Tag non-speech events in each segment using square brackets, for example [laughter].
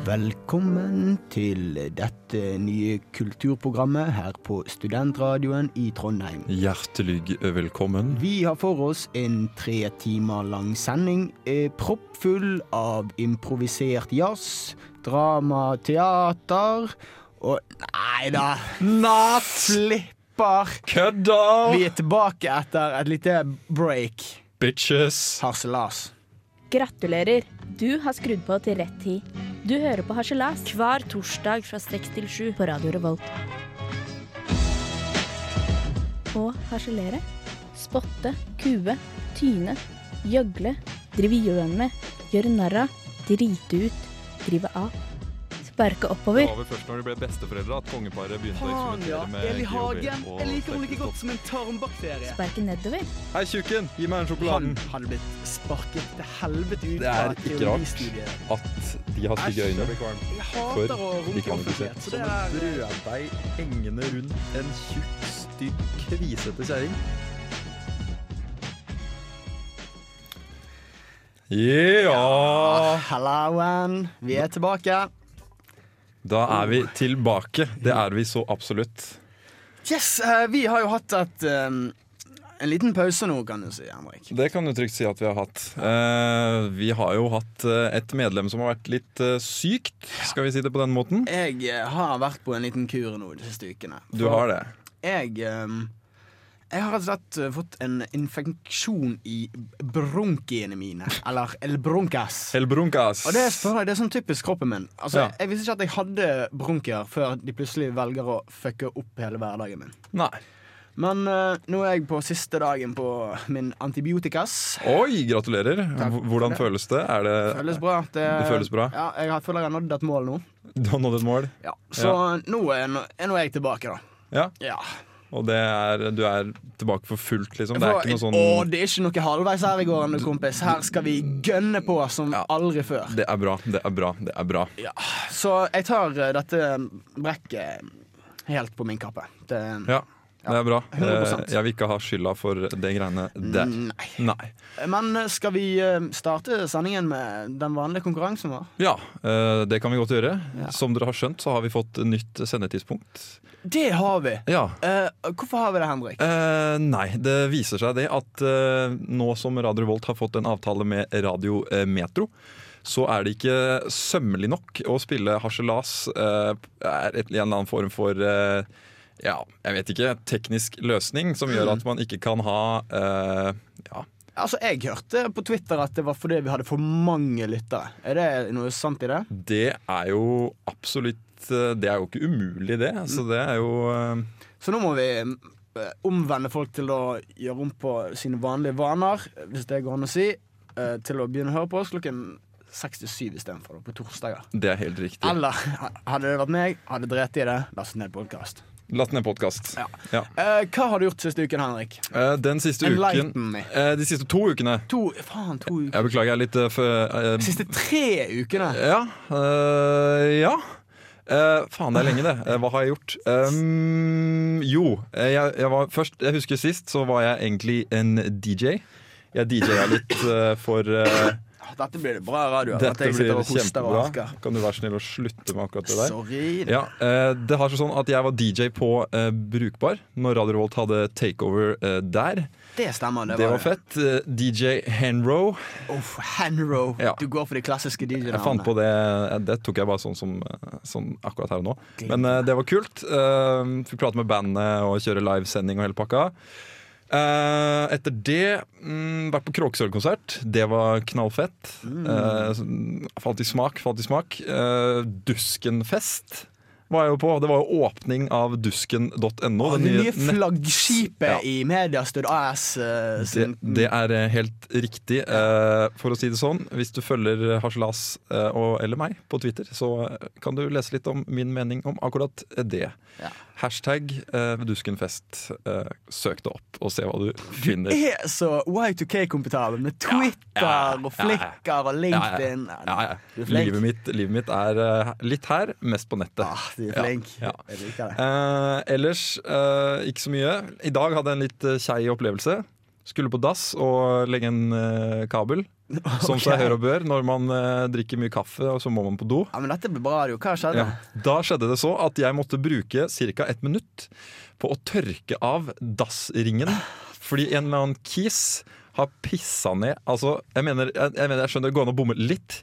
Velkommen til dette nye kulturprogrammet her på Studentradioen i Trondheim. Hjertelig velkommen. Vi har for oss en tre timer lang sending eh, proppfull av improvisert jazz, drama, teater og Nei da, Natt! flipper! Kødder! Vi er tilbake etter et lite break. Bitches! Harselas. Gratulerer! Du har skrudd på til rett tid. Du hører på Harselas Hver torsdag fra 6 til 7. på Radio Revolt. Å harselere, spotte, kue, tyne, gjøgle, drive gjøn med, gjøre narr av, drite ut, drive av. Sparke Det oppover. var vel først når de ble besteforeldre at kongeparet begynte å eksperimentere med geografi og stekestopp. som en tarmbakterie. Sparke nedover. Hei, tjukken! Gi meg den Han sjokoladen! hadde blitt sparket til helvete ut Det er ikke rart at de har stygge øyne. Jeg for hater å de runke kan ikke Sånn. se. offentlighet, så det er brøddeig hengende rundt en tjukk, stygg, kvisete kjerring. Ah, Ja! Hallauen. Ah, Vi er tilbake. Da er vi tilbake. Det er vi så absolutt. Yes, eh, vi har jo hatt et eh, en liten pause nå, kan du si, Henrik. Det kan du trygt si at vi har hatt. Eh, vi har jo hatt eh, et medlem som har vært litt eh, sykt, skal vi si det på den måten. Jeg eh, har vært på en liten kur nå de siste ukene. Du har det. Jeg eh, jeg har rett og slett eh, fått en infeksjon i bronkiene mine. Eller el broncas. El Brunkas. Og det, er- føler jeg, det er sånn typisk kroppen min. Altså, Ja. Jeg visste ikke at jeg hadde bronkier før de plutselig velger å fucke opp hele hverdagen min. Nei. Men eh, nå er jeg på siste dagen på min antibiotikas. Oi, gratulerer. Takk H- Hvordan for føles det? Er det Føles bra. Det, Det føles bra. Ja, jeg har- føler jeg har nådd et mål nå. Du har nådd et mål? Ja. Så eh, Nå, er, nå er nå jeg tilbake, da. Ja. Ja. Og det er, du er tilbake for fullt, liksom? Det er For- ikke noe Å, sånn det er ikke noe halvveis her i gården, kompis. Her skal vi gønne på som Ja. aldri før. Det er bra, det er bra, det er bra. Ja. Så jeg tar eh, dette brekket helt på min kappe. Det, Ja, det er bra. Eh, 100%. Jeg vil ikke ha skylda for det greiene Mm. der. Nei. Nei. Men skal vi eh, starte sendingen med den vanlige konkurransen vår? Ja, eh, det kan vi godt gjøre. Ja. Som dere har skjønt, så har vi fått nytt sendetidspunkt. Det har vi! Ja, Eh, hvorfor har vi det, Henrik? Eh, nei, det viser seg det at eh, nå som Radio Revolt har fått en avtale med Radio eh, Metro, så er det ikke sømmelig nok å spille harselas eh, er et, en eller annen form for eh, ja, jeg vet ikke, teknisk løsning som gjør at man ikke kan ha eh, ja, Altså, Jeg hørte på Twitter at det var fordi vi hadde for mange lyttere. Er det noe sant i det? Det er jo absolutt eh, Det er jo ikke umulig, det. Så det er jo eh, Så nå må vi eh, omvende folk til å gjøre om på sine vanlige vaner, hvis det går an å si, eh, til å begynne å høre på oss klokken 67 istedenfor på torsdager. Det er helt riktig. Eller hadde det vært meg, hadde dreti i det, lastet ned podkast. Last ned podkast. Ja. Ja. hva har du gjort siste uken, Henrik? Eh, Den siste uken Enlighten me. eh, De siste to ukene To, faen, to uker. Jeg beklager, jeg er litt eh, for, De eh, siste tre ukene. Ja. eh, ja. Eh, faen, det er lenge, det. Eh, hva har jeg gjort? Um, jo, eh, jeg, jeg var først Jeg husker sist, så var jeg egentlig en DJ. Jeg DJ-a litt eh, for eh, Ah, Dette blir det bra radio. av at Dette jeg sitter og blir hoster og kjempebra. harker. Kan du være snill å slutte med akkurat det der? Sorry. Ja, eh, det har seg sånn at Jeg var DJ på eh, Brukbar når Radio Revolt hadde takeover eh, der. Det stemmer. Det, Det var fett. Eh, DJ Henro. Uff, Henro. Ja. Du går for de klassiske DJ-navnene. Jeg fant på det Det tok jeg bare sånn som sånn akkurat her og nå. Men eh, det var kult. Eh, fikk prate med bandet og kjøre livesending og hele pakka. Eh, etter det mm, vært på Kråkesølvkonsert. Det var knallfett. Eh, så- falt i smak, falt i smak. Eh, Duskenfest var jeg jo på. Det var jo åpning av dusken.no. Å, den det nye nye nett- flaggskipet Ja. i Mediastud AS. eh, det, sin, det er eh, helt riktig. Eh, for å si det sånn, hvis du følger Harselas eh, og, eller meg på Twitter, så eh, kan du lese litt om min mening om akkurat det. Ja. Hashtag eh, Duskenfest. Eh, søk det opp og se hva du finner. er så Y2K-kompetabel med Twitter Ja, ja, ja, og Flickr og Ja, ja, LinkedIn. ja, ja. Du er flink. Livet, mitt, livet mitt er eh, litt her, mest på nettet. Ah, du er Ja, flink. ja. Jeg liker det. Eh, ellers eh, ikke så mye. I dag hadde jeg en litt eh, kjei opplevelse. Skulle på dass og legge en eh, kabel. som seg hør og bør. Når man eh, drikker mye kaffe, og så må man på do. Ja, men dette blir bra radio. Hva skjedde? Ja. [laughs] Da skjedde det så at jeg måtte bruke ca. ett minutt på å tørke av dassringen. Fordi en eller annen kis har pissa ned Altså, jeg mener jeg, jeg, mener, jeg skjønner det går an å bomme litt,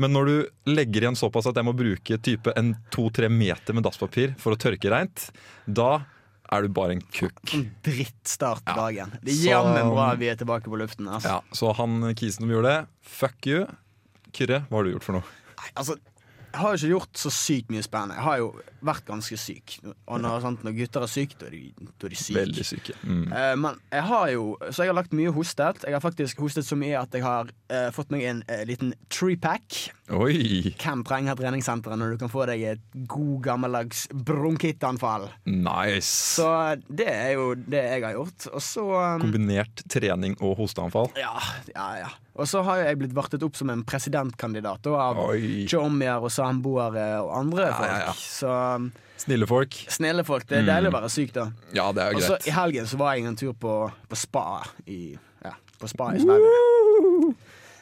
men når du legger igjen såpass at jeg må bruke type en to-tre meter med dasspapir for å tørke reint, da er du bare en kukk. En drittstart på dagen. Det er Så- jammen bra vi er tilbake på luften. Altså. Ja, så han kisen som gjorde det, fuck you. Kyrre, hva har du gjort for noe? Nei, altså, jeg har jo ikke gjort så sykt mye spennende. Jeg har jo vært ganske syk. Og når, sant, når gutter er syke, da er de, da er de syke. Veldig syke. Mm. Eh, men jeg har jo Så jeg har lagt mye hostet. Jeg har faktisk hostet så mye at jeg har eh, fått meg en eh, liten treepack. Oi! Hvem trenger treningssenteret når du kan få deg et god gammeldags bronkittanfall? Nice! Så eh, det er jo det jeg har gjort. Og så um, Kombinert trening og hosteanfall. Ja, ja, ja. Og så har jo jeg blitt vartet opp som en presidentkandidat da, av Oi. tjommier og samboere og andre Ja, folk. ja, ja. Så um, Snille folk. snille folk. Det er deilig å være syk, da. Ja, Mm. det er Og så greit. i helgen så var jeg en tur på, på spa i, ja, på spa i Sverige.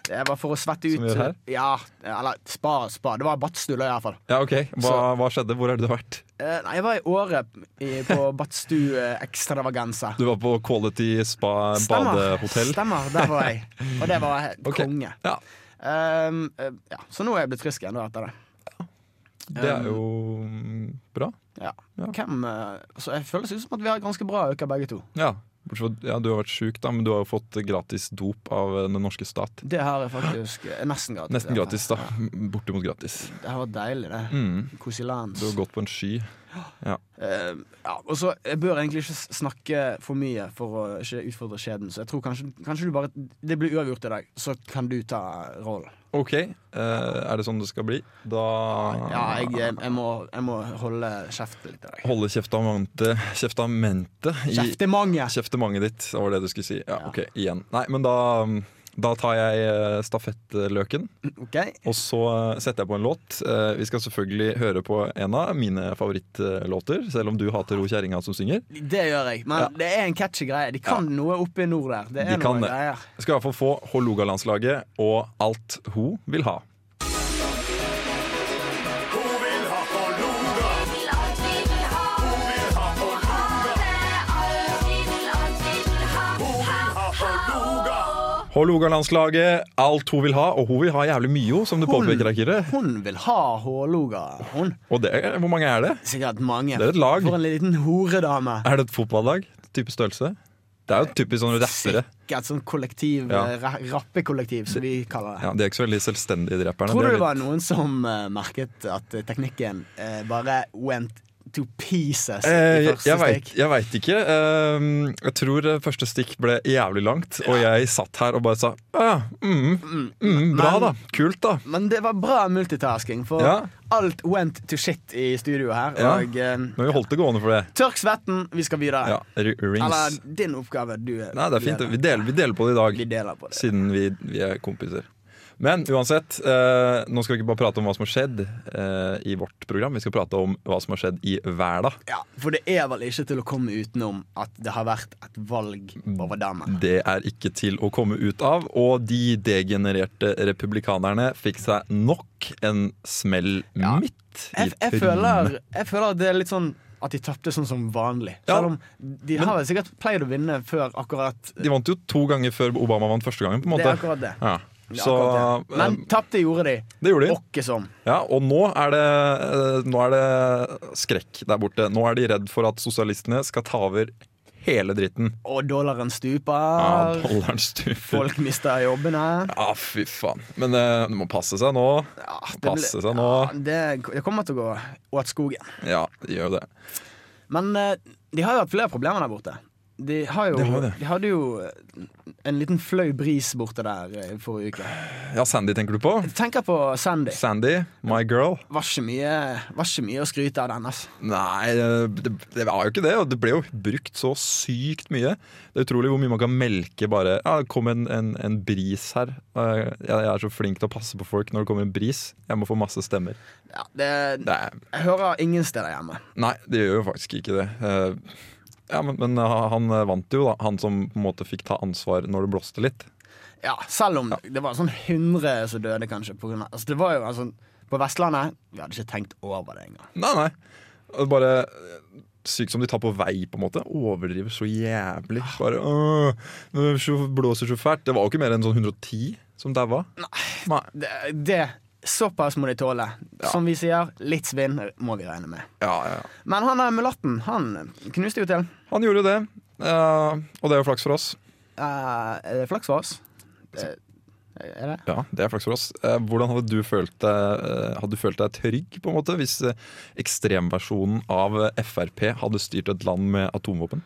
Det var for å svette ut Som vi gjør her? Ja, eller spa og spa. Det var badstue, i hvert fall. Ja, ok. Hva, hva skjedde? Hvor har du vært? Eh, nei, jeg var i Åre i- på [laughs] badstue ekstravaganse. Du var på Quality Spa badehotell? Stemmer, der var jeg. Og det var helt [laughs] Ok. konge. Ja, Um, eh, ja. Så nå er jeg blitt frisk igjen da, etter det. det er jo Um, mm, bra. Ja. Ja. Hvem, eh, så jeg føles ut som at vi har ganske bra uker, begge to. Ja. Bortsett fra ja, du har vært sjuk, da, men du har jo fått gratis dop av eh, den norske stat. Det her er faktisk eh, nesten gratis. Nesten dette. gratis, da. [laughs] Bortimot gratis. Det her var deilig, det. Mm. Kosilans. Du har gått på en sky. Eh, ja, og så Jeg bør egentlig ikke s- snakke for mye for å ikke utfordre skjeden, så jeg tror kanskje, kanskje du bare Det blir uavgjort i dag, så kan du ta rollen. OK, eh, er det sånn det skal bli? Da Ah. Ja, jeg, jeg, eh, jeg, må, jeg må holde kjeft litt i dag. Holde kjeftamente Kjeftamente i Kjeftemange! kjeftemanget ditt, var det du skulle si. Ja, Ja. OK, igjen. Nei, men da, da tar jeg eh, stafettløken. OK? Og så setter jeg på en låt. Eh, Vi skal selvfølgelig høre på en av mine favorittlåter, selv om du hater Ro kjerringa som synger. Det gjør jeg. Men Ja. det er en catchy greie. De kan noe oppe i nord der. Det De er kan noen det. greier. Jeg skal i hvert fall få Hålogalandslaget og alt ho vil ha. Hålogalandslaget, alt hun vil ha, og hun vil ha jævlig mye, jo, som du påpeker, Akire. Hun vil ha hårloga. Hun. Og det, hvor mange er det? Sikkert mange. Det er et lag. For en liten horedame. Er det et fotballag? Type størrelse? Det er jo typisk sånne rappere. Sikkert sånn kollektiv, Ja. eh, ra- rappekollektiv, som vi kaller det. Ja, de er ikke så veldig selvstendige, de rapperne. Tror du De er det var noen som eh, merket at eh, teknikken eh, bare went to pieces Eh, i jeg, første jeg, vet, stikk? jeg vet ikke. Ehm, jeg tror eh, første stikk ble jævlig langt, og jeg satt her og bare sa «Ah, mm, mm, Bra, da. men- Kult, da. Men det var bra multitasking, for Ja. alt went to shit i studio her. Ja. Og eh, Men vi holdt det gående for det. tørk svetten, vi skal videre. Ja, r- Eller rings. din oppgave. Du Nei, det er fint. Vi leder. deler, vi deler på det i Vi dag, deler på det. siden vi, vi er kompiser. Men uansett, eh, nå skal vi ikke bare prate om hva som har skjedd eh, i vårt program, vi skal prate om hva som har skjedd i verden. Ja, For det er vel ikke til å komme utenom at det har vært et valg over dammen. Det er ikke til å komme ut av, og de degenererte republikanerne fikk seg nok en smell Ja. midt i Jeg, jeg, føler, jeg føler at det er litt sånn at de tapte sånn som vanlig. Ja. Selv om de har vel sikkert pleid å vinne før akkurat De vant jo to ganger før Obama vant første gangen, på en Det er måte. akkurat det. Ja. Det er Så akkurat det. Men eh, tapte gjorde de. det gjorde de. Åkke som. Ja, og nå er, det, eh, nå er det skrekk der borte. Nå er de redd for at sosialistene skal ta over hele dritten. Og dollaren Ja, stuper. dollaren stuper. Folk mister jobbene. Ja, fy faen. Men eh, du må passe seg nå. Ja, det ble- Passe seg nå. Ja, det, det kommer til å gå åt skogen. Ja, de gjør jo det. Men eh, de har jo hatt flere problemer der borte. De, har jo, Det har de. de hadde jo eh, en liten flau bris borte der eh, forrige uke. Ja, Sandy tenker du på? Jeg tenker på Sandy. Sandy, my girl. Var ikke mye, var ikke mye å skryte av den. ass. Nei, det, det var jo ikke det. Og det ble jo brukt så sykt mye. Det er utrolig hvor mye man kan melke bare Ja, det kom en, en, en bris her. Eh, Jeg, jeg er så flink til å passe på folk når det kommer en bris. Jeg må få masse stemmer. Ja, det, Nei, jeg hører ingen steder hjemme. nei det gjør jo faktisk ikke det. Eh, Ja, men, men han vant jo, da. Han som på en måte fikk ta ansvar når det blåste litt. Ja, selv om det var sånn 100 som døde, kanskje. På, grunn av, altså, det var jo, altså, på Vestlandet Vi hadde ikke tenkt over det engang. Nei, nei. Det er Bare eh, sykt som de tar på vei, på en måte. Overdriver så jævlig. Bare «Åh, det så- blåser så fælt. Det var jo ikke mer enn sånn 110 som daua. Nei. Det, det Såpass må de tåle. Som vi sier, litt svinn må vi regne med. Ja, ja, ja. Men han der mulatten, han knuste jo til. Han gjorde jo det. eh, og det er jo flaks for oss. Eh, er det flaks for oss? Det, er det? Ja, det er flaks for oss. Eh, hvordan hadde du følt deg eh, Hadde du følt deg trygg på en måte hvis eh, ekstremversjonen av eh, Frp hadde styrt et land med atomvåpen?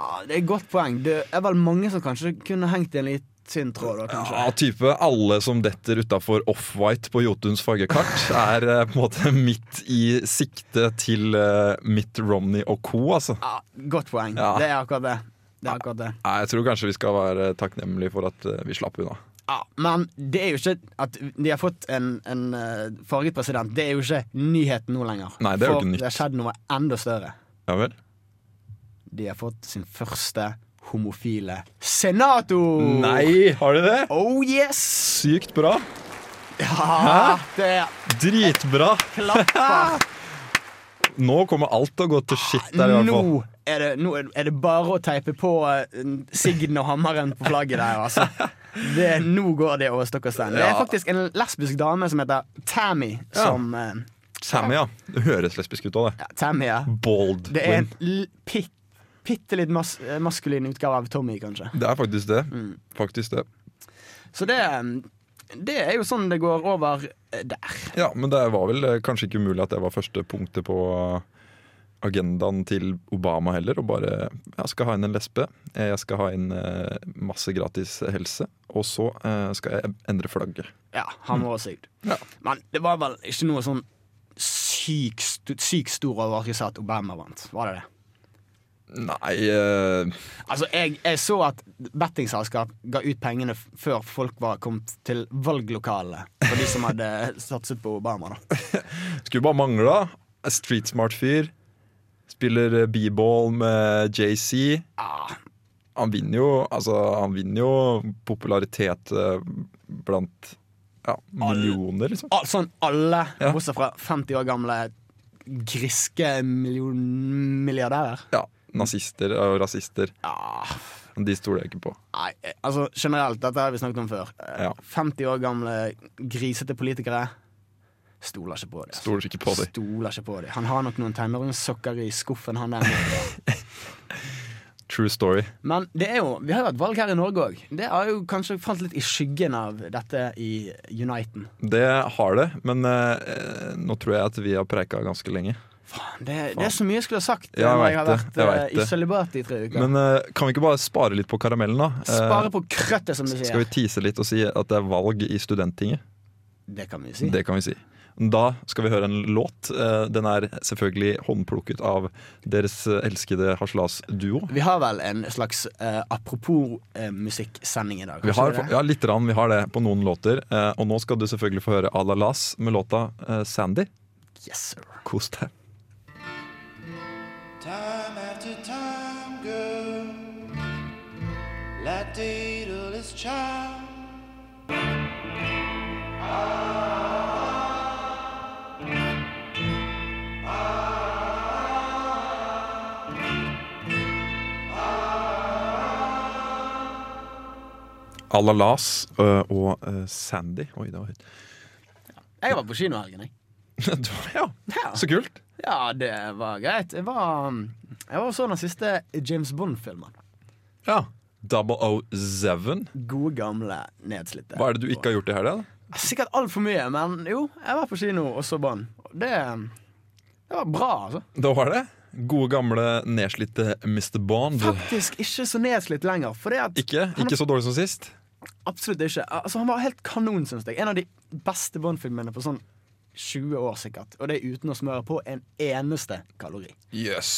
Ja, det er et godt poeng. Det er vel mange som kanskje kunne hengt i en litt tynn tråd, da, kanskje. Ja, type alle som detter utafor Offwhite på Jotuns fargekart, er eh, på en måte midt i sikte til eh, Mitt Romney og co., altså. Ja, godt poeng. Ja. Det er akkurat det. Det er akkurat det. Nei, Jeg tror kanskje vi skal være takknemlige for at eh, vi slapp unna. Ja, men det er jo ikke at de har fått en, en eh, farget president. Det er jo ikke nyheten nå lenger. Nei, det er jo For ikke nytt. det har skjedd noe enda større. Ja vel? De har fått sin første homofile Oh. senator! Nei, har de det? Oh yes! Sykt bra. Ja, det er Dritbra. klapper. Nå kommer alt til å gå til skitt der, i hvert fall. Nå er, det, nå er- er det bare å teipe på eh, sigden og hammeren på flagget der, [laughs] altså. Det, nå går det over stokk og stein. Det er Ja. faktisk en lesbisk dame som heter Tammy, Ja. som eh, Sammy, ja. Det høres lesbisk ut òg, det. ja, Tammy er Baldwin. Det er en l- pit, bitte litt mas eh, maskulin utgave av Tommy, kanskje. Det er faktisk det. Faktisk det. Så det, det er jo sånn det går over eh, der. Ja, men det var vel eh, kanskje ikke umulig at det var første punktet på eh, agendaen til Obama heller. Og bare Jeg skal ha inn en lesbe, eh, jeg skal ha inn eh, masse gratis helse, og så eh, skal jeg endre flagget. Ja, han var sykt. Ja. Men det var vel ikke noe sånn sykt st syk stor overraskelse at Obama vant, var det det? Nei eh, Altså, jeg, jeg så at bettingselskap ga ut pengene f- før folk var kommet til valglokalene, for de som hadde [laughs] satset på Obama, da. Skulle bare mangle, da. A Street smart fyr. Spiller eh, b-ball med JC. Ah, han vinner jo, altså, han vinner jo popularitet eh, blant ja, millioner, liksom. al- sånn alle, Ja. bortsett fra 50 år gamle griske million milliardærer. Ja, Nazister og rasister. Ja, Men De stoler jeg ikke på. Ah, Nei, eh, altså generelt, dette har vi snakket om før. Eh, Ja. 50 år gamle grisete politikere stoler ikke på det. altså. Stoler ikke på dem. Stoler ikke på det. Han har nok noen tenåringssokker i skuffen, han der. True story. Men det er jo, vi har jo et valg her i Norge òg. Det har jo kanskje falt litt i skyggen av dette i Uniten. Det har det, men eh, nå tror jeg at vi har preika ganske lenge. Faen, det, det er så mye jeg skulle ha sagt eh, Jeg når vet jeg har det, vært jeg eh, vet i det. sølibat i tre uker. Men eh, kan vi ikke bare spare litt på karamellen, da? Eh, Spare på krøttet, som du sier. skal vi tease litt og si at det er valg i Studenttinget? Det kan vi jo si. Det kan vi si. Da skal vi høre en låt. Eh, Den er selvfølgelig håndplukket av deres eh, elskede harselasduo. Vi har vel en slags eh, apropos-musikksending i dag. Vi kanskje har, det? ja, litt rann, vi har det på noen låter. Eh, og nå skal du selvfølgelig få høre Alalas med låta eh, 'Sandy'. Yes, sir. Kos deg. Time after time, girl, that daedal is child. Alalas eh, og eh, Sandy. Oi, det var høyt. [laughs] Jeg var på kino i helgen, jeg. Det var- ja. Ja. Så kult! Ja, det var greit. Jeg var, um, jeg var og så den siste James Bond-filmen. Ja. 007. Gode, gamle, nedslitte. Hva er det du ikke har gjort i helga? da? Sikkert altfor mye, men jo, jeg var på kino og så Bond. Og Det, um, det var bra, altså. Det var det. Gode, gamle, nedslitte Mr. Bond. Faktisk ikke så nedslitt lenger. For det at Ikke, Han- ikke så dårlig som sist. Absolutt ikke. Altså, han var helt kanon, syns jeg. En av de beste Bond-filmene på sånn 20 år sikkert. Og det er uten å smøre på en eneste kalori. Yes.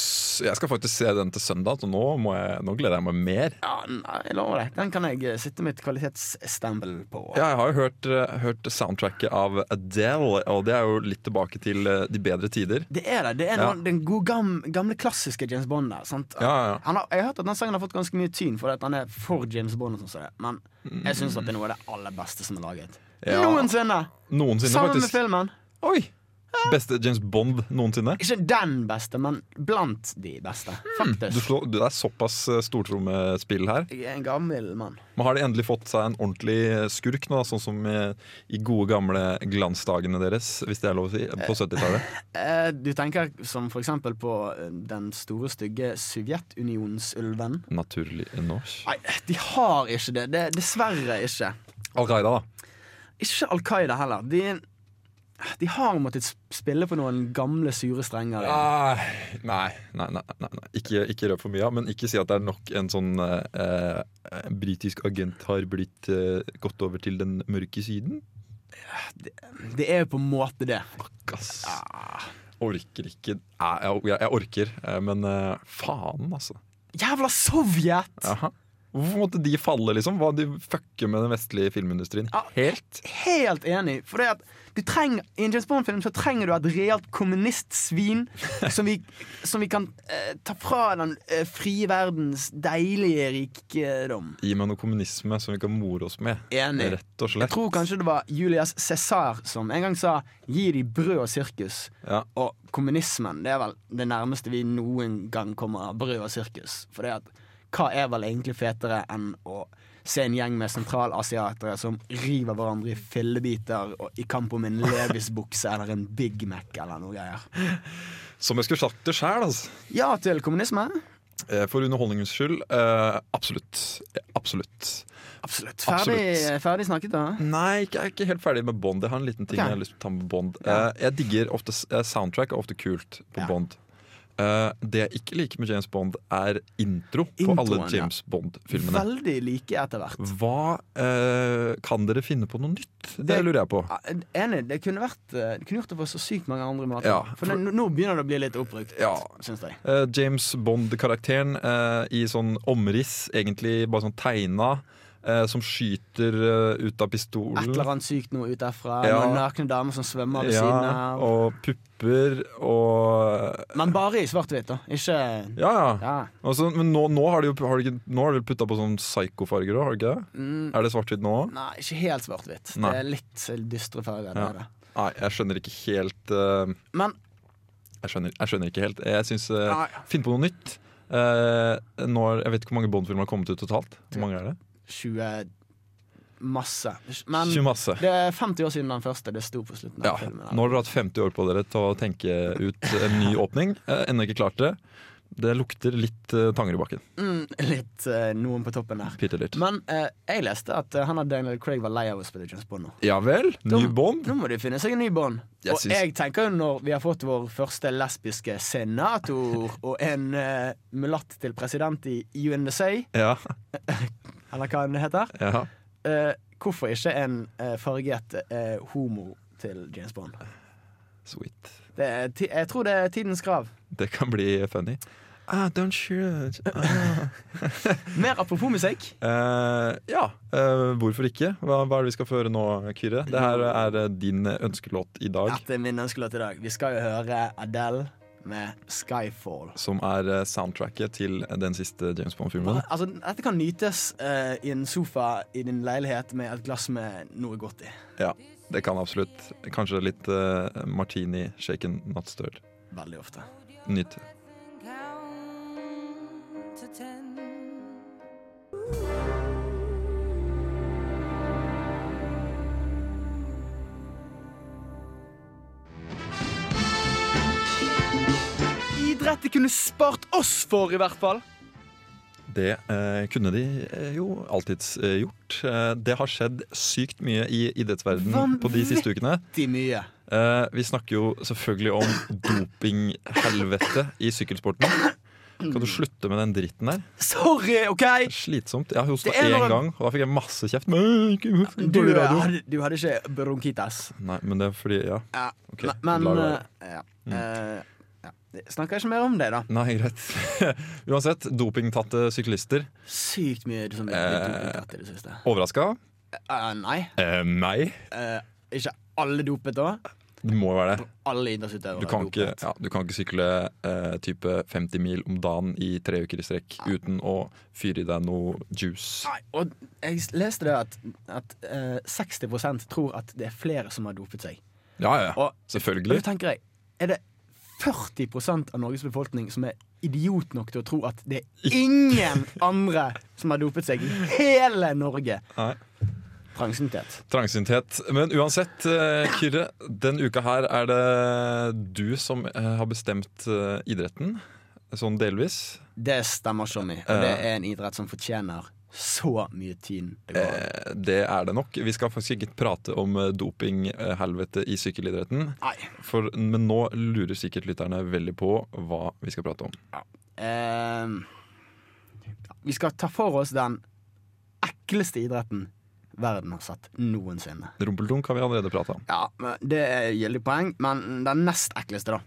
Jeg skal faktisk se den til søndag, så nå, må jeg, nå gleder jeg meg mer. Ja, nei, jeg lover det. Den kan jeg eh, sitte mitt kvalitetsstempel på. Ja, jeg har jo hørt, eh, hørt soundtracket av Adele, og det er jo litt tilbake til eh, de bedre tider. Det er det. Det er Ja. noen, den gode, gam, gamle, klassiske James Bond der. Sant? Ja, ja. Han har, jeg har hørt at den sangen har fått ganske mye tyn fordi at han er for James Bond. Og sånn, som det. Men jeg syns det er noe av det aller beste som er laget. Ja. Noensinne! Noensinne, Sammen med faktisk. filmen. Oi! Beste James Bond noensinne. Ikke den beste, men blant de beste, Mm. Du faktisk. slår, det er såpass eh, stortrommespill her. Jeg er en gammel mann. Men har de endelig fått seg en ordentlig skurk nå, da, sånn som i, i gode gamle glansdagene deres, hvis det er lov å si, på 70-tallet? Eh, du tenker som for eksempel på eh, den store, stygge Sovjetunionsulven. Naturlig norsk. Nei, de har ikke det. det dessverre ikke. Al Qaida, da. Ikke Al Qaida heller. De, de har måttet sp- spille på noen gamle, sure strenger. Ah, nei, nei, nei, nei, nei. Ikke, ikke røp for mye, men ikke si at det er nok en sånn eh, eh, britisk agent har blitt eh, gått over til den mørke siden. Det er jo på en måte det. Gass. Orker ikke. Nei, jeg, jeg, jeg orker, eh, men eh, faen, altså. Jævla Sovjet! Jaha. Hvorfor måtte de falle, liksom? Hva de fucker med den vestlige filmindustrien? Ja. Helt? Helt enig. For det at du trenger, I en James Bond-film så trenger du et reelt [laughs] kommunistsvin som vi, som vi kan eh, ta fra den eh, frie verdens deilige rikdom. Gi meg noe kommunisme som vi kan more oss med. Enig. Rett og Jeg slett. tror kanskje det var Julius Cæsar som en gang sa 'gi de brød og sirkus'. Ja. Og kommunismen det er vel det nærmeste vi noen gang kommer av brød og sirkus. For det at, hva er vel egentlig fetere enn å se en gjeng med sentralasiatere som river hverandre i fillebiter og i kamp om en Levis-bukse eller en Big Mac eller noe greier. Som jeg skulle sagt det sjæl, altså. Ja til kommunisme. Eh, For underholdningens skyld, eh, absolutt. Eh, Absolutt. Absolutt. Ferdig, ferdig snakket, da. Nei, ikke- jeg er ikke helt ferdig med Bond. Jeg har en liten ting Ok. jeg har lyst til å ta med Bond. Ja. Eh, Jeg digger ofte s- eh, Soundtrack er ofte kult på Ja. Bond. Eh, Det jeg ikke liker med James Bond, er intro på alle Introen, ja. James Bond-filmene. Veldig like etter hvert. Hva eh, Kan dere finne på noe nytt? Det Det- lurer jeg på. Ja, Enig, det kunne, vært, eh, det kunne gjort det på så sykt mange andre måter. Ja, for nå, nå begynner det å bli litt oppbrukt, Ja. syns jeg. Eh, James Bond-karakteren eh, i sånn omriss, egentlig bare sånn tegna, eh, som skyter eh, ut av pistolen. Et eller annet sykt noe ut derfra. Ja. Noen nakne damer som svømmer ved siden Ja, av. og pupper og Men bare i svart-hvitt, da. Ikke Ja, ja. ja. Og så- men nå, nå har de jo har de, ikke- nå har de vel putta på sånn psykofarger òg, har de ikke det? Mm. Er det svart-hvitt nå òg? Nei, ikke helt svart-hvitt. Det Nei. er litt dystre farger. Ja. det er det. Nei, jeg skjønner ikke helt eh, Men ah, jeg, skjønner, jeg skjønner ikke helt. Jeg eh, syns Nei. Finn på noe nytt. Eh, nå, jeg vet ikke hvor mange Bond-filmer har kommet ut totalt. Hvor mange er det? 20 Masse. Men Tjue masse. det er 50 år siden den første. Det sto på slutten Ja, av filmen. nå har dere hatt 50 år på dere til å tenke ut en ny åpning. Eh, Ennå ikke klart det. Det lukter litt eh, tanger i bakken. Mm, litt eh, noen på toppen der. Bitte litt. Men eh, jeg leste at eh, han og Daniel Craig var lei av å spille James Bond nå. Ja vel? Ny Bond? Nå må de finne seg en ny bånd. Jeg og syns- jeg tenker jo når vi har fått vår første lesbiske senator og en eh, mulatt til president i UNSA, Ja. eller hva den heter, ja. eh, hvorfor ikke en eh, farget eh, homo til James Bond? Sweet. Det er ti jeg tror det er tidens krav. Det kan bli funny. Ah, don't shoot. Mer apropos musikk. Eh, ja, eh, hvorfor ikke? Hva, hva er det vi skal føre nå, Kyrre? Det her er eh, din ønskelåt i dag, Dette er min ønskelåt i dag. Vi skal jo høre Adele med 'Skyfall'. som er eh, soundtracket til den siste James Bond-filmen. Altså, dette kan nytes eh, i en sofa i din leilighet med et glass med noe godt i. Ja, det kan absolutt. Kanskje litt eh, martini, shaken, not stirred. Veldig ofte. Nytt. Count to ten. Idrett de kunne spart oss for, i hvert fall. Det eh, kunne de eh, jo alltids eh, gjort. Eh, det har skjedd sykt mye i idrettsverdenen på de siste ukene. De mye. Eh, vi snakker jo selvfølgelig om dopinghelvete i sykkelsporten. Kan du slutte med den dritten der? Sorry, OK! Det er slitsomt. Jeg hosta Det er når én han- gang, og da fikk jeg masse kjeft. Men, ikke, Du eh, dårlig radio. hadde, du hadde ikke bronkitas. Nei, men det er fordi Ja. Ja. Ok, ne- Men la det være. eh, ja. Eh, ja. Snakker ikke mer om det, da. Nei, greit. [laughs] Uansett, dopingtatte syklister. Sykt mye som blir Eh. dopet i det siste. Overraska? Eh, nei. Eh, nei. Eh, ikke alle dopet da. Det må jo være det. Alle idrettsutøvere Du kan er ikke, dopet. ja, du kan ikke sykle eh, type 50 mil om dagen i tre uker i strekk uten å fyre i deg noe juice. Nei, og jeg s- leste det at, at eh, 60 tror at det er flere som har dopet seg. Ja, ja, ja. Og- Og Selvfølgelig. da tenker jeg, er det 40 av Norges befolkning som er idiot nok til å tro at det er ingen andre som har dopet seg i hele Norge? Nei. Trangsynthet. Trangsynthet. Men uansett, eh, Kyrre, den uka her er det du som eh, har bestemt eh, idretten. Sånn delvis. Det stemmer, Johnny. Og det er en idrett som fortjener så mye tid det går an. Eh, Det er det nok. Vi skal faktisk ikke prate om eh, dopinghelvete i sykkelidretten. Nei. For, men nå lurer sikkert lytterne veldig på hva vi skal prate om. Ehm, ja, vi skal ta for oss den ekleste idretten verden har sett noensinne. Rumpeldunk har vi allerede prata om. Ja, men Det er gyldig poeng, men den nest ekleste, da.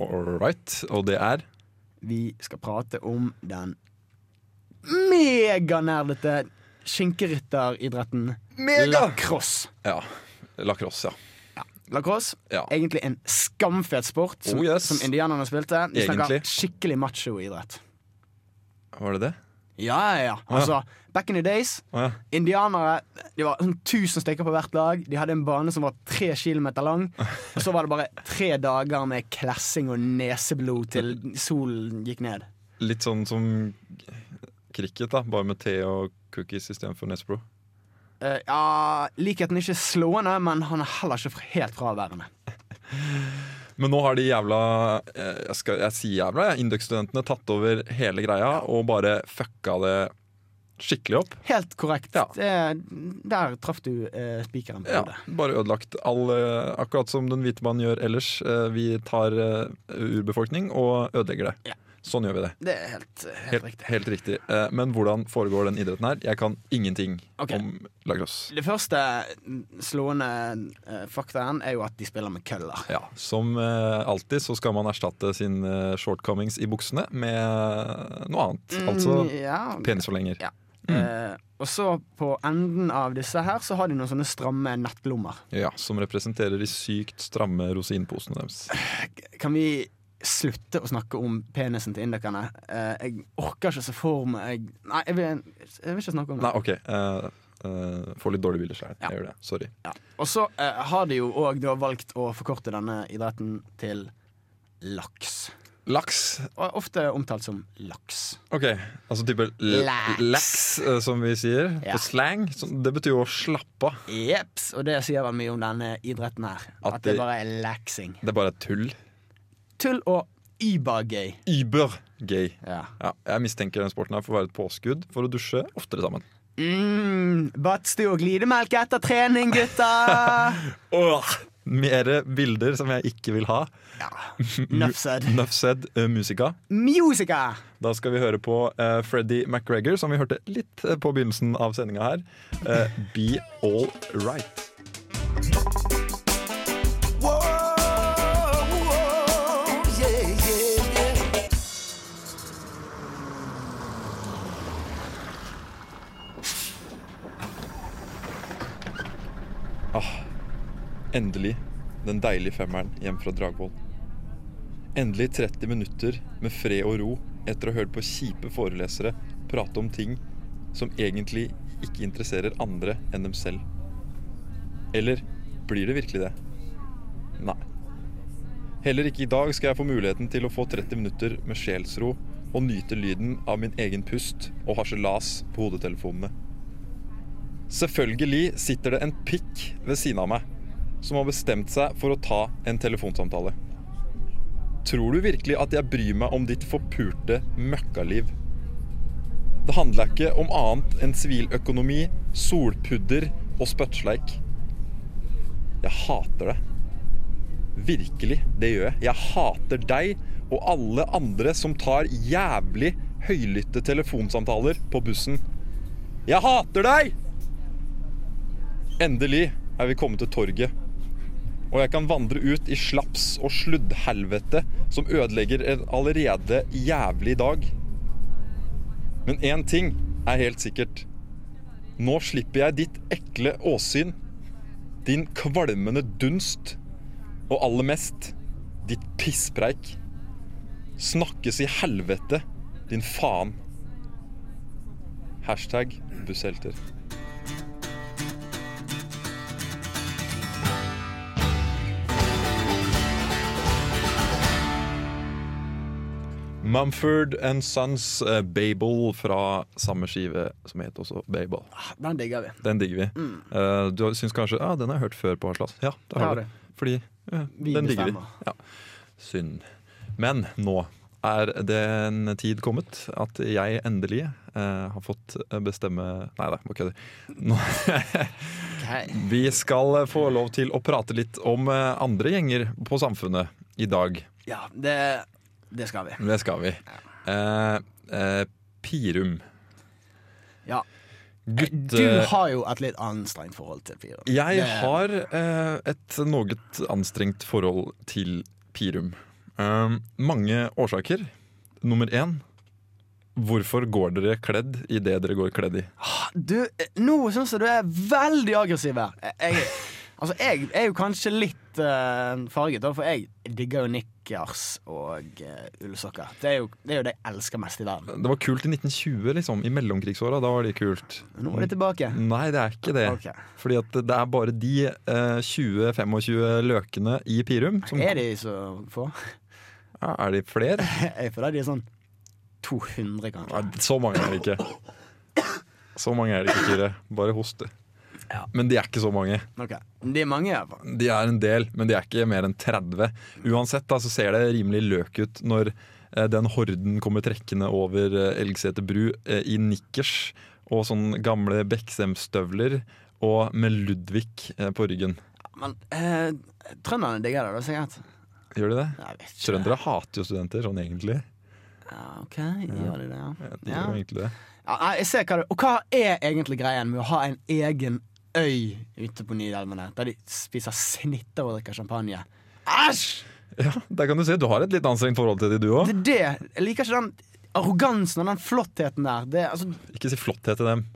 All right. Og det er Vi skal prate om den meganerdete skinkerytteridretten lacrosse. Ja. Lacrosse, ja. Lacrosse, Ja. egentlig en skamfet sport som, Oh, yes. som indianerne spilte. Vi snakker Egentlig. skikkelig macho-idrett. Var det det? Ja, ja, ja. Altså, back in the days Å ja. Indianere Det var sånn 1000 stykker på hvert lag. De hadde en bane som var tre kilometer lang. Og så var det bare tre dager med klessing og neseblod til solen gikk ned. Litt sånn som cricket, da. Bare med te og cookies istedenfor Nesbro. Eh, ja, likheten er ikke slående, men han er heller ikke helt fraværende. Men nå har de jævla eh, Jeg, skal, jeg sier jævla, jeg. Indøk-studentene tatt over hele greia og bare fucka det skikkelig opp. Helt korrekt. Ja. Det, der traff du eh, spikeren på Ja, hodet. bare ødelagt all eh, Akkurat som den hvite mannen gjør ellers. Eh, Vi tar eh, urbefolkning og ødelegger det. Ja. Sånn gjør vi det. Det er helt, eh, helt, Helt riktig. riktig. Helt riktig. Eh, Men hvordan foregår den idretten her? Jeg kan ingenting Ok. om lacrosse. Det første mm, slående eh, faktaen er jo at de spiller med køller. Ja, som eh, alltid så skal man erstatte sine shortcomings i buksene med noe annet. Altså Mm, ja, penisforlenger. Ja. Mm. Eh, og så på enden av disse her så har de noen sånne stramme nettlommer. Ja, som representerer de sykt stramme rosinposene deres. Kan vi slutte å snakke om penisen til indokerne? Eh, jeg orker ikke så for meg Nei, jeg vil, jeg vil ikke snakke om det. Nei, OK. eh, eh, får litt dårlige bilder sjøl. Ja. Jeg gjør det. Sorry. Ja. Og så eh, har de jo òg da valgt å forkorte denne idretten til laks. Laks. Og er ofte omtalt som laks. OK, altså type l- Laks. laks, eh, som vi sier Ja. på slang. Så det betyr jo å slappe av. Jeps, og det sier vel mye om denne idretten her. At, At det det- bare er laxing. Det er bare tull. Tull og übergøy. Über-gay. Ja. Ja, jeg mistenker den sporten her for å være et påskudd for å dusje oftere sammen. Mm, Badstue og glidemelk etter trening, gutta! Åh, Mere bilder som jeg ikke vil ha. ja. Nuff said. Nuff said, eh, musica. Musica! Da skal vi høre på eh, Freddie McGregor, som vi hørte litt eh, på begynnelsen av sendinga her. Eh, Be all right. Endelig den deilige femmeren hjem fra Dragvoll. Endelig 30 minutter med fred og ro etter å ha hørt på kjipe forelesere prate om ting som egentlig ikke interesserer andre enn dem selv. Eller blir det virkelig det? Nei. Heller ikke i dag skal jeg få muligheten til å få 30 minutter med sjelsro og nyte lyden av min egen pust og harselas på hodetelefonene. Selvfølgelig sitter det en pikk ved siden av meg som har bestemt seg for å ta en telefonsamtale. Tror du virkelig at jeg bryr meg om ditt forpurte møkkaliv? Det handler ikke om annet enn siviløkonomi, solpudder og spøttsleik. Jeg hater det. Virkelig, det gjør jeg. Jeg hater deg og alle andre som tar jævlig høylytte telefonsamtaler på bussen. Jeg hater deg! Endelig er vi kommet til torget. Og jeg kan vandre ut i slaps og sluddhelvete som ødelegger en allerede jævlig dag. Men én ting er helt sikkert. Nå slipper jeg ditt ekle åsyn, din kvalmende dunst, og aller mest ditt pisspreik. Snakkes i helvete, din faen. Hashtag busshelter. Mumford and Sons eh, Babel fra samme skive som heter også Babel. Den digger vi. Den digger vi. Eh, du syns kanskje ja, den har jeg hørt før på Haslas. Ja, det har Har du. du. Fordi ja, Vi den digger vi. bestemmer. Ja. Synd. Men nå er det en tid kommet at jeg endelig eh, har fått bestemme Nei da, bare kødder. Nå- Ok. Vi skal eh, få lov til å prate litt om eh, andre gjenger på samfunnet i dag. Ja, det, det skal vi. Det skal vi. Eh, eh, Pirum. Ja. Eh, Gutte... Du har jo et litt anstrengt forhold til Pirum. Jeg Det- har eh, et noe anstrengt forhold til Pirum. Eh, mange årsaker. Nummer én Hvorfor går dere kledd i det dere går kledd i? Du, eh, nå syns jeg du er veldig aggressiv her. Jeg- Jeg, altså, jeg er jo kanskje litt eh, farget, da, for jeg digger jo nikkers og eh, ullsokker. Det er, jo, det er jo det jeg elsker mest i verden. Det var kult i 1920, liksom. I mellomkrigsåra. Da var det kult. Nå er det tilbake. Nei, det er ikke det. Ok. Fordi at det er bare de eh, 20-25 løkene i Pirum som Er de så få? Ja, Er de flere? [laughs] Jeg føler de er sånn 200, Nei, kanskje. så mange er det ikke. Så mange er det ikke, Kyrre. Bare host, du. Ja. Men de er ikke så mange. Ok, De er mange, i hvert fall. De er en del, men de er ikke mer enn 30. Uansett da, så ser det rimelig løk ut når eh, den horden kommer trekkende over eh, Elgseter bru eh, i nikkers og sånne gamle Beksem-støvler og med Ludvig eh, på ryggen. Men eh, trønderne digger det, da, sikkert. Gjør de det? Jeg vet ikke. Trøndere hater jo studenter sånn egentlig. Ja, OK, gjør de det, ja? ja. Jeg, tror egentlig det. Ja, nei, jeg ser hva det Og hva er egentlig greien med å ha en egen øy ute på Nidelvene, der de spiser snitter og drikker champagne? Æsj! Ja, Der kan du se, du har et litt anstrengt forhold til de du òg. Det er det. Jeg liker ikke den arrogansen og den flottheten der. Det, er, altså, Ikke si flotthet til dem.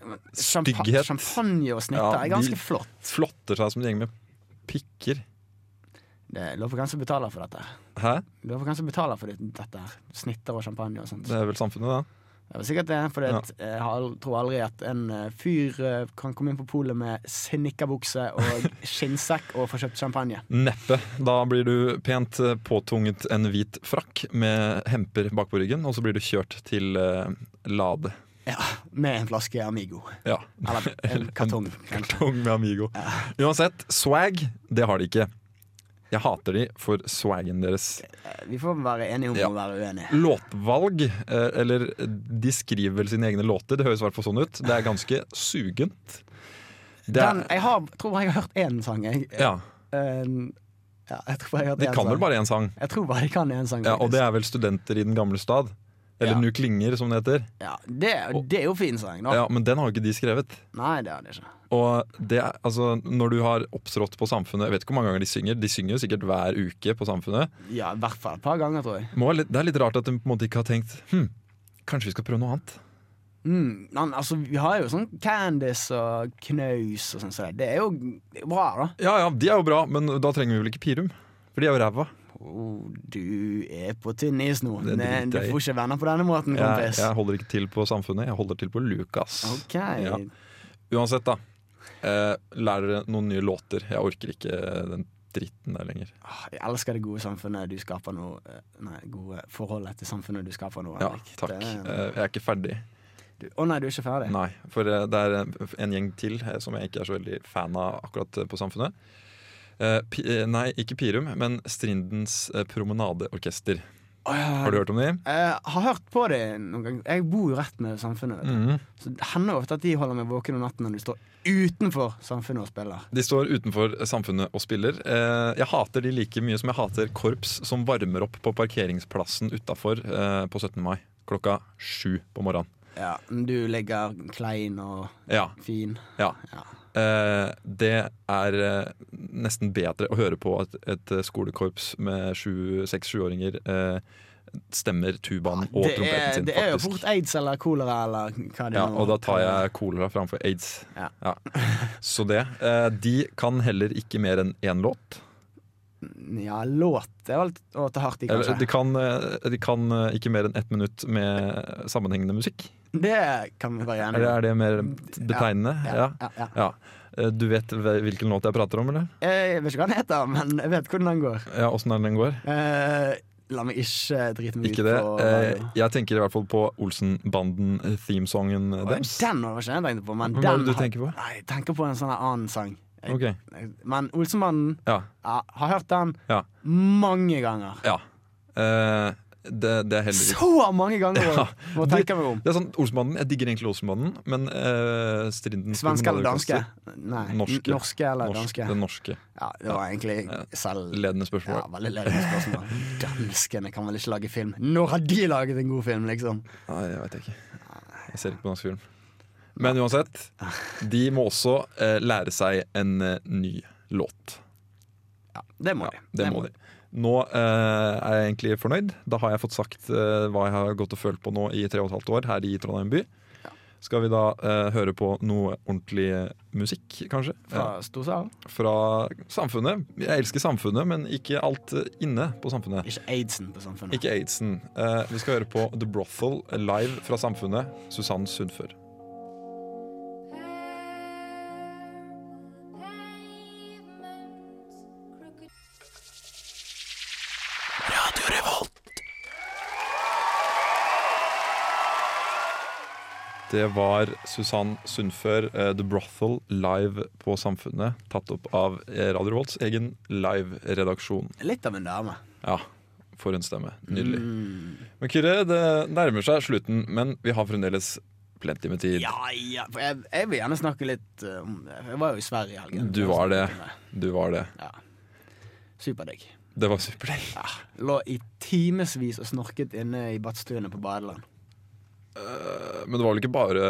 champa- Stygghet. Champagne og snitter Ja, er ganske de- flott. Flotter seg som en gjeng med pikker. Det er lov for hvem som betaler for dette. Hæ? Lov for hvem som betaler for det- dette. her. Snitter og champagne og sånt. Det er vel samfunnet, da? Det var sikkert det, for Ja. jeg har al- tror aldri at en eh, fyr eh, kan komme inn på polet med snikkerbukse og [laughs] skinnsekk og få kjøpt champagne. Neppe. Da blir du pent eh, påtunget en hvit frakk med hemper bakpå ryggen, og så blir du kjørt til eh, Lade. Ja, Med en flaske Amigo. Ja. [laughs] Eller en kartong. kanskje. Kartong med Amigo. Uansett, swag, det har de ikke. Jeg hater de for swagen deres. Vi får være enige om Ja. å være uenige. Låtvalg, eh, eller de skriver vel sine egne låter, det høres i hvert fall sånn ut. Det er ganske sugent. Det Den, er, jeg har, tror jeg har hørt én sang, jeg. ja, Eh, ja, jeg tror jeg har hørt de én kan sang. vel bare én sang, Jeg tror bare de kan én sang. ja, og det faktisk. er vel studenter i den gamle stad. Eller Ja. Nu klinger, som det heter. ja, det, det er jo fin sang, da. Ja, Men den har jo ikke de skrevet. Nei, det er det ikke. Og det, er- altså, når du har opptrådt på Samfunnet Jeg vet ikke hvor mange ganger de synger. De synger jo sikkert hver uke på Samfunnet. Ja, I hvert fall et par ganger, tror jeg. Må være litt, det er litt rart at de på en måte ikke har tenkt hm, kanskje vi skal prøve noe annet. Mm, men altså, vi har jo sånn Candice og Knaus og sånn. Så det er jo det er jo bra, da. Ja ja, de er jo bra, men da trenger vi vel ikke Pirum? For de er jo ræva. Oh, du er på tynn is nå. Det Men driter du jeg i. får ikke venner på denne måten, Jeg, kompis. jeg holder ikke til på Samfunnet, jeg holder til på Lukas. OK. Ja. Uansett, da. Eh, lær dere noen nye låter. Jeg orker ikke den dritten der lenger. Ah, Jeg elsker det gode samfunnet du skaper nå. eh, Nei, gode forholdet til samfunnet du skaper nå. Ja, Henrik. takk. Det- Eh, jeg er ikke ferdig. du- Å nei, du er ikke ferdig? Nei, for eh, det er eh, en gjeng til eh, som jeg ikke er så veldig fan av akkurat eh, på Samfunnet. Eh, pi, eh, nei, ikke Pirum, men Strindens eh, Promenadeorkester. Å, ja. Har du hørt om dem? Jeg har hørt på Mm. det noen ganger. Jeg bor jo rett med samfunnet. Vet du. Så det hender ofte at de holder meg våken om natten når du står utenfor samfunnet og spiller. De står utenfor samfunnet og spiller. Eh, Jeg hater de like mye som jeg hater korps som varmer opp på parkeringsplassen utafor eh, på 17. mai klokka sju på morgenen. Ja, men du ligger klein og Ja, fin. ja. Ja. Eh, Det er eh, nesten bedre å høre på at et eh, skolekorps med sju- seks-sjuåringer eh, stemmer tubaen og Det trompeten er, sin, det er jo fort faktisk. aids eller kolera eller hva det Ja, nå og da tar jeg kolera framfor aids. Ja. Så det. eh, De kan heller ikke mer enn én låt. Ja, låt Det er vel å ta hardt i, Eller, kanskje. de, kan, eh, de kan eh, ikke mer enn ett minutt med sammenhengende musikk. Det kan vi være Eller enige om. er det mer betegnende? Ja. Ja, ja. Ja. Eh, Du vet hve- hvilken låt jeg prater om, eller? Jeg vet ikke hva den heter, men jeg vet hvordan den går. Ja, Åssen er det den går? Eh, la meg ikke drite meg Ikke ut det. på Eh, radio. Jeg tenker i hvert fall på Olsenbanden-themesongen deres. Den var ikke den jeg tenkte på, men Hva den er det du har- tenker på? Nei, jeg tenker på en sånn her annen sang. Jeg- Ok, Men Olsenmannen ja, ja, har hørt den Ja. mange ganger. ja. Eh, Det, det er heller ikke Så mange ganger! Ja. Må Du- tenke meg om. Det er sånn, Olsenbanden, Jeg digger egentlig Olsenbanden, men eh, Strindens Svenske eller danske? kommunalarkaster- Nei, Norske. norske, norske eller Norsk- danske? Det norske. Ja, det var egentlig selv Ledende ja, spørsmål. veldig ledende spørsmål. Danskene kan vel ikke lage film? Når har de laget en god film, liksom? Nei, jeg veit ikke. Jeg ser ikke på norsk film. Men uansett, de må også eh, lære seg en eh, ny låt. Ja, det må de. Ja, det må de. Nå eh, er jeg egentlig fornøyd. Da har jeg fått sagt eh, hva jeg har gått og følt på nå i tre og et halvt år her i Trondheim by. Skal vi da eh, høre på noe ordentlig musikk, kanskje? Fra Ja, Storsalen. fra samfunnet. Jeg elsker samfunnet, men ikke alt eh, inne på samfunnet. Ikke aidsen på samfunnet. Ikke aidsen. Eh, vi skal høre på The Brothel live fra Samfunnet. Susann Sundfør. Det var Susann Sundfør, eh, The Brothel live på Samfunnet. Tatt opp av eh, Radio Volts egen live-redaksjon. Litt av en dame. Ja, for en stemme. Nydelig. Mm. Men Kyrre, det nærmer seg slutten, men vi har fremdeles plenty med tid. Ja, ja. For jeg, jeg vil gjerne snakke litt eh, om det. Jeg var jo i Sverige i helgen. Du var det. Du var det. Ja. Superdigg. Det var superdeilig. Ja. Lå i timevis og snorket inne i badstuene på badeland. Eh, Men det var vel ikke bare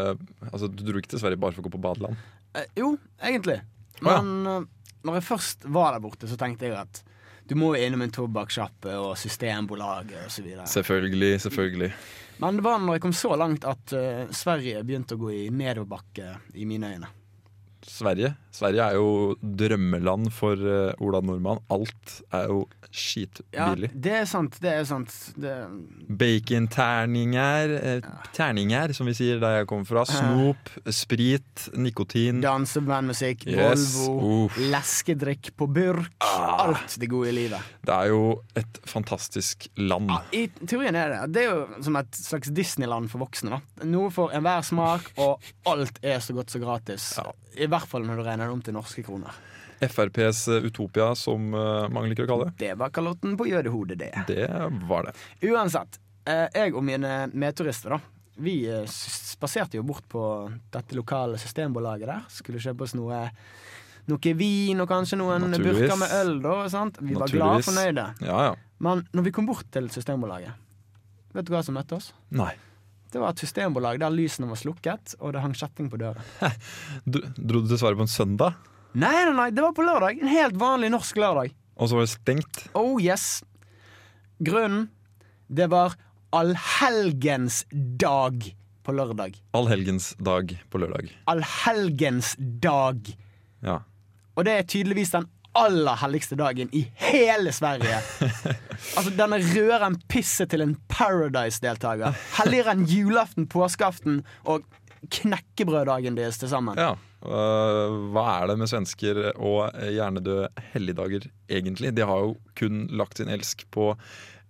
Altså, du dro ikke til Sverige bare for å gå på badeland? Eh, jo, egentlig. ja. Men eh, når jeg først var der borte, så tenkte jeg at du må jo innom en tobakkssjappe og Systembolaget og så videre. Selvfølgelig, selvfølgelig. Men det var når jeg kom så langt at eh, Sverige begynte å gå i nedoverbakke i mine øyne. Sverige Sverige er jo drømmeland for eh, Ola Nordmann. Alt er jo skitbillig. det er sant. Det er sant. Det, Baconterninger, eh, terninger som vi sier der jeg kommer fra. Snop, sprit, nikotin. dansebandmusikk, Yes. Uh, Volvo, Uff. Ah. leskedrikk på burk. Alt det gode i livet. Det er jo et fantastisk land. Ja, I teorien er det Det er jo som et slags Disneyland for voksne. Da. Noe for enhver smak, og alt er så godt som gratis. I hvert fall når du regner det om til norske kroner. FrPs Utopia, som eh, mange liker å kalle det. Det var kalotten på jødehodet, det. Det var det. Uansett, eh, jeg og mine medturister da Vi eh, s- spaserte jo bort på dette lokale systembolaget der Skulle kjøpe oss noe noe vin og kanskje noen Naturligvis. burker med øl da, sant? Vi var glad og Naturligvis. fornøyde Ja, ja. Men når vi kom bort til systembolaget Vet du hva som møtte oss? Nei. Det var et systembolag der lysene var slukket Og det hang kjetting på døren Du, dro du til Sverige på en søndag, Nei, nei, nei, det var på lørdag En helt vanlig norsk lørdag og så var det stengt? Oh yes Grunnen, det var allhelgensdag på lørdag Allhelgensdag på lørdag. allhelgensdag. Ja. Og det er tydeligvis den aller helligste dagen i hele [laughs] Sverige. altså Denne røren pisser til en Paradise-deltaker. Helligere enn julaften, påskeaften og knekkebrøddagen deres til sammen. ja. Øh, hva er det med svensker og hjernedøde helligdager, egentlig? De har jo kun lagt sin elsk på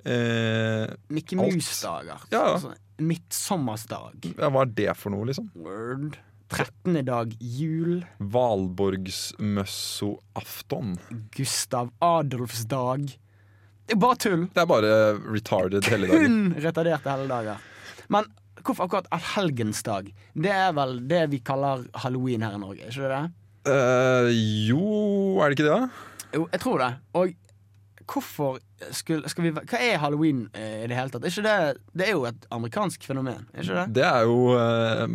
eh, Mickey alt. Mouse-dager. Ja, ja. Altså, Midtsommersdag. ja, Hva er det for noe, liksom? Word. 13. dag jul. Valborgsmøssoafton. Gustav Adolfs dag. Det er bare tull. [laughs] Det er bare retarded helligdager. Kun retarderte helligdager. Men Hvorfor akkurat allhelgensdag? Det er vel det vi kaller halloween her i Norge, ikke det? Eh, jo, er det ikke det, da? Jo, jeg tror det. Og hvorfor skulle skal vi, Hva er halloween eh, i det hele tatt? Er Ikke det, det er jo et amerikansk fenomen, er ikke det? Det er jo eh,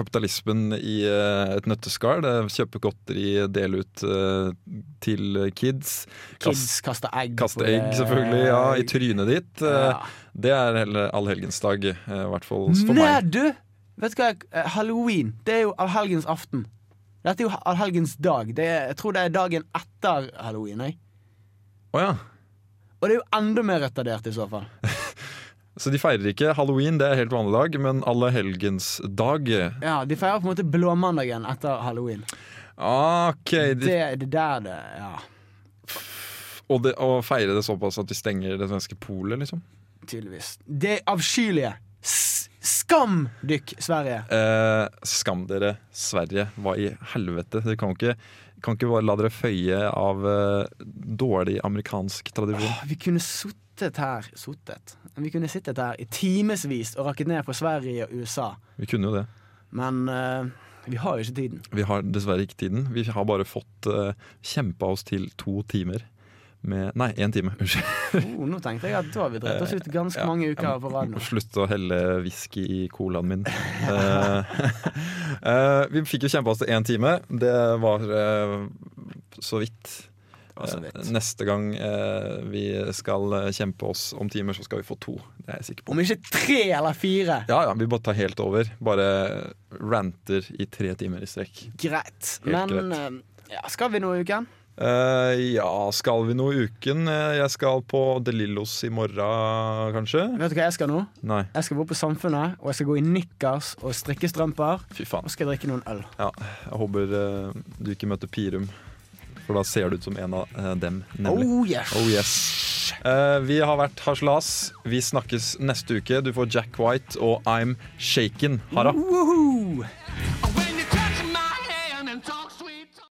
kapitalismen i eh, et nøtteskall. Det er Kjøpe godteri, dele ut eh, til kids. Kids kaster egg. Kaste på- egg, selvfølgelig. Ja, I trynet ditt. Eh, Ja. Det er hele allhelgensdag, eh, i hvert fall for Nei, meg. du! Vet du hva? Eh, Halloween, det er jo allhelgens aften. Dette er jo allhelgens dag. Det er, jeg tror det er dagen etter halloween. Jeg. Å ja. Og det er jo enda mer retardert i så fall. Så de feirer ikke halloween, det er helt vanlig dag, men allehelgensdag Ja, De feirer på en måte blåmandagen etter halloween. OK. Det De, er der det Ja, og, det, og feire det såpass at de stenger det svenske polet, liksom? tydeligvis. Det avskyelige. S- Skam dykk, Sverige! Eh, skam dere, Sverige. Hva i helvete? Dere kan ikke, kan ikke bare la dere føye av eh, dårlig amerikansk tradisjon. Vi kunne suttet her Suttet? Vi kunne sittet her i timevis og rakket ned på Sverige og USA. Vi kunne jo det. Men eh, vi har jo ikke [laughs] tiden. Vi har dessverre ikke tiden. Vi har bare fått eh, kjempa oss til to timer med Nei, én time. Unnskyld. Oh, nå tenkte jeg at da har vi drept oss ut ganske mange uker på rad nå. Slutt å helle whisky i [laughs] colaen min. Eh, [laughs] eh, vi fikk jo kjempa oss til én time. Det var eh, så vidt. Og så vidt. Eh, Neste gang eh, vi skal eh, kjempe oss om timer, så skal vi få to. Det er jeg sikker [laughs] på. Om ikke tre eller fire. Ja, ja, Vi bare tar helt over. Bare ranter i tre timer i strekk. Greit. Helt Men eh, ja, skal vi noe i uken? Eh, ja, skal vi noe i uken? Eh, Jeg skal på De Lillos i morgen, kanskje? Vet du hva jeg skal nå? Nei, Jeg skal gå på Samfunnet, og jeg skal gå i nikkers og strikkestrømper. fy Og faen. skal drikke noen øl. Ja, jeg håper eh, du ikke møter Pirum, for da ser du ut som en av eh, dem, nemlig. Oh yes. Oh, yes. Eh, vi har vært harselas. Vi snakkes neste uke. Du får Jack White og I'm Shaken. Ha det. Woohoo!